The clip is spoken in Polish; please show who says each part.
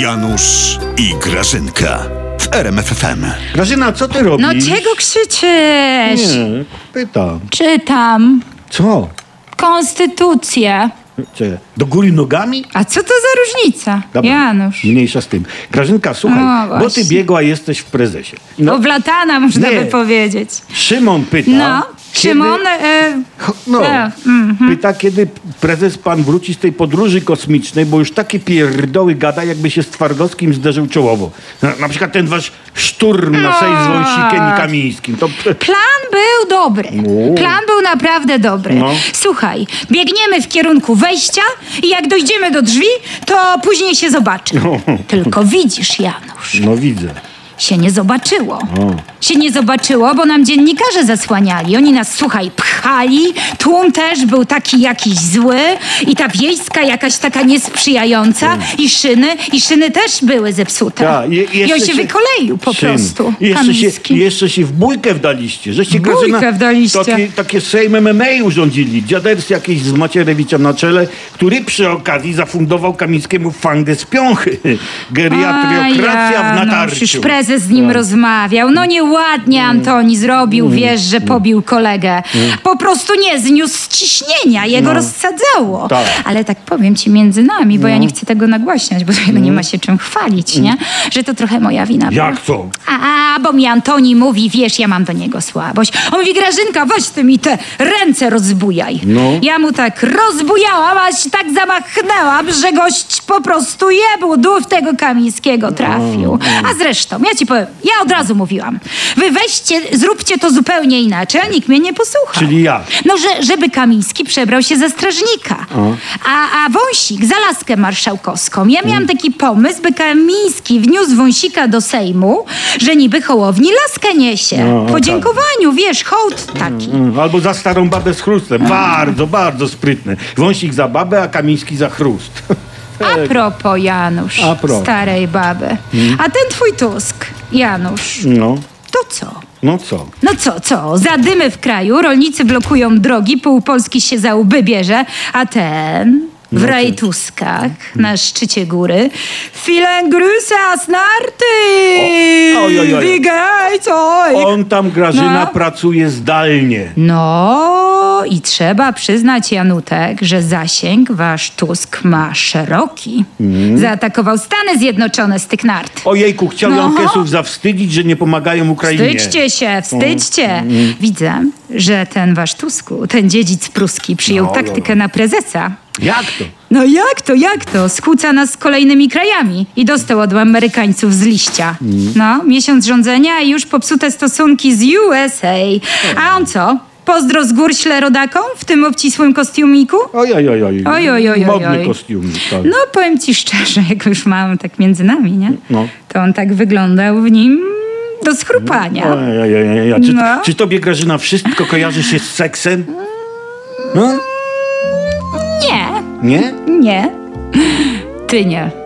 Speaker 1: Janusz i Grażynka w RMFFM.
Speaker 2: Grażyna, co ty robisz?
Speaker 3: No czego krzyczysz?
Speaker 2: Nie, pytam.
Speaker 3: Czytam
Speaker 2: Co?
Speaker 3: konstytucję.
Speaker 2: Czy do góry nogami?
Speaker 3: A co to za różnica?
Speaker 2: Dobra,
Speaker 3: Janusz.
Speaker 2: Mniejsza z tym. Grażynka, słuchaj,
Speaker 3: No
Speaker 2: bo ty
Speaker 3: właśnie.
Speaker 2: biegła jesteś w prezesie.
Speaker 3: No. Oblatana można
Speaker 2: Nie.
Speaker 3: by powiedzieć.
Speaker 2: Szymon pyta...
Speaker 3: No,
Speaker 2: kiedy-
Speaker 3: Szymon, e,
Speaker 2: Ho- No,
Speaker 3: E,
Speaker 2: pyta, kiedy prezes pan wróci z tej podróży kosmicznej, bo już takie pierdoły gada, jakby się z Twardowskim zderzył czołowo. Na, na przykład ten wasz szturm na sześć z
Speaker 3: No.
Speaker 2: Wąsikiem i Kamińskim. To...
Speaker 3: plan był dobry.
Speaker 2: O.
Speaker 3: Plan był naprawdę dobry.
Speaker 2: No.
Speaker 3: Słuchaj, biegniemy w kierunku wejścia i jak dojdziemy do drzwi, to później się zobaczy. Tylko widzisz, Janusz,
Speaker 2: No widzę.
Speaker 3: się nie zobaczyło. Się nie zobaczyło, bo nam dziennikarze zasłaniali. Oni nas, słuchaj, pchali. Tłum też był taki jakiś zły i ta wiejska jakaś taka niesprzyjająca i szyny, i szyny też były zepsute.
Speaker 2: Ta, je-
Speaker 3: Tak. I on się,
Speaker 2: się-
Speaker 3: wykoleił po
Speaker 2: Szyn.
Speaker 3: prostu.
Speaker 2: Jeszcze się,
Speaker 3: Kamiński.
Speaker 2: jeszcze się w bójkę wdaliście. Żeście
Speaker 3: Bójkę wdaliście.
Speaker 2: Takie, takie Sejm MMA urządzili. Dziaders jakiś z Macierewiczem na czele, który przy okazji zafundował Kamińskiemu fangę z piąchy. Geriatriokracja
Speaker 3: A,
Speaker 2: w
Speaker 3: Janusz,
Speaker 2: natarciu. Tak. Mm.
Speaker 3: Już no, prezes z nim rozmawiał. No nieładnie Antoni zrobił, wiesz, że pobił kolegę. Po prostu nie zniósł ciśnienia, jego rozsadzało.
Speaker 2: No. Tak. No.
Speaker 3: Ale tak powiem ci między nami, bo ja nie chcę tego nagłaśniać, bo no.
Speaker 2: Mm.
Speaker 3: nie ma się czym chwalić, nie? Że to trochę moja wina była.
Speaker 2: Jak to?
Speaker 3: A, bo mi Antoni mówi, wiesz, ja mam do niego słabość. On mówi, Grażynka, weź ty mi te ręce rozbujaj.
Speaker 2: No.
Speaker 3: Ja mu tak rozbujałam, aż tak zamachnęłam, że gość po prostu jebł w tego Kamińskiego
Speaker 2: No,
Speaker 3: trafił. A zresztą, ja ci powiem, ja od razu mówiłam, wy weźcie, zróbcie to zupełnie inaczej, a nikt mnie nie posłucha.
Speaker 2: Czyli jak?
Speaker 3: No, że, żeby Kamiński przebrał się za strażnika. A, a Wąsik za laskę marszałkowską. Ja miałam
Speaker 2: Mm.
Speaker 3: taki pomysł, by Kamiński wniósł Wąsika do Sejmu, że niby hołowni laskę niesie.
Speaker 2: No,
Speaker 3: W Podziękowaniu, wiesz, hołd taki.
Speaker 2: Mm, Albo za starą babę z
Speaker 3: Tak.
Speaker 2: chrustem. Bardzo, bardzo sprytny. Wąsik za babę, a Kamiński za chrust.
Speaker 3: A propos, Janusz,
Speaker 2: tak. A propos. Mm.
Speaker 3: starej baby. A ten twój Tusk, Janusz,
Speaker 2: No,
Speaker 3: to co?
Speaker 2: no co?
Speaker 3: No co, co? Zadymy w kraju, rolnicy blokują drogi, pół Polski się za łby bierze, a ten
Speaker 2: No tak.
Speaker 3: w rajtuskach na szczycie góry filengruse asnarty!
Speaker 2: O, oj, oj, oj.
Speaker 3: Wigaj, coj!
Speaker 2: On tam, Grażyna,
Speaker 3: No.
Speaker 2: pracuje zdalnie.
Speaker 3: No i trzeba przyznać, Janutek, że zasięg wasz Tusk ma szeroki.
Speaker 2: Mm.
Speaker 3: Zaatakował Stany Zjednoczone z tych nart.
Speaker 2: Ojejku, chciał
Speaker 3: No.
Speaker 2: Jankesów zawstydzić, że nie pomagają Ukrainie.
Speaker 3: Wstydźcie się,
Speaker 2: Mm,
Speaker 3: wstydźcie. Widzę, że ten wasz Tusku, ten dziedzic pruski przyjął
Speaker 2: No, no,
Speaker 3: taktykę na prezesa.
Speaker 2: Jak to?
Speaker 3: No jak to, jak to? Skłóca nas z kolejnymi krajami i dostał od Amerykańców z liścia.
Speaker 2: Mm.
Speaker 3: No, miesiąc rządzenia i już popsute stosunki z USA. A on co? Pozdro z gór śle rodakom w tym obcisłym kostiumiku?
Speaker 2: Oj, oj, oj, oj.
Speaker 3: Oj, oj, oj,
Speaker 2: Modny
Speaker 3: oj, oj.
Speaker 2: kostium. Tak.
Speaker 3: No, powiem ci szczerze, jak już mam tak między nami, nie?
Speaker 2: No.
Speaker 3: To on tak wyglądał w nim do schrupania.
Speaker 2: Oj, oj, oj, oj, oj. Czy,
Speaker 3: No.
Speaker 2: czy tobie, Grażyna, wszystko kojarzy się z seksem? No?
Speaker 3: Nie,
Speaker 2: Nie?
Speaker 3: Nie. Ty nie.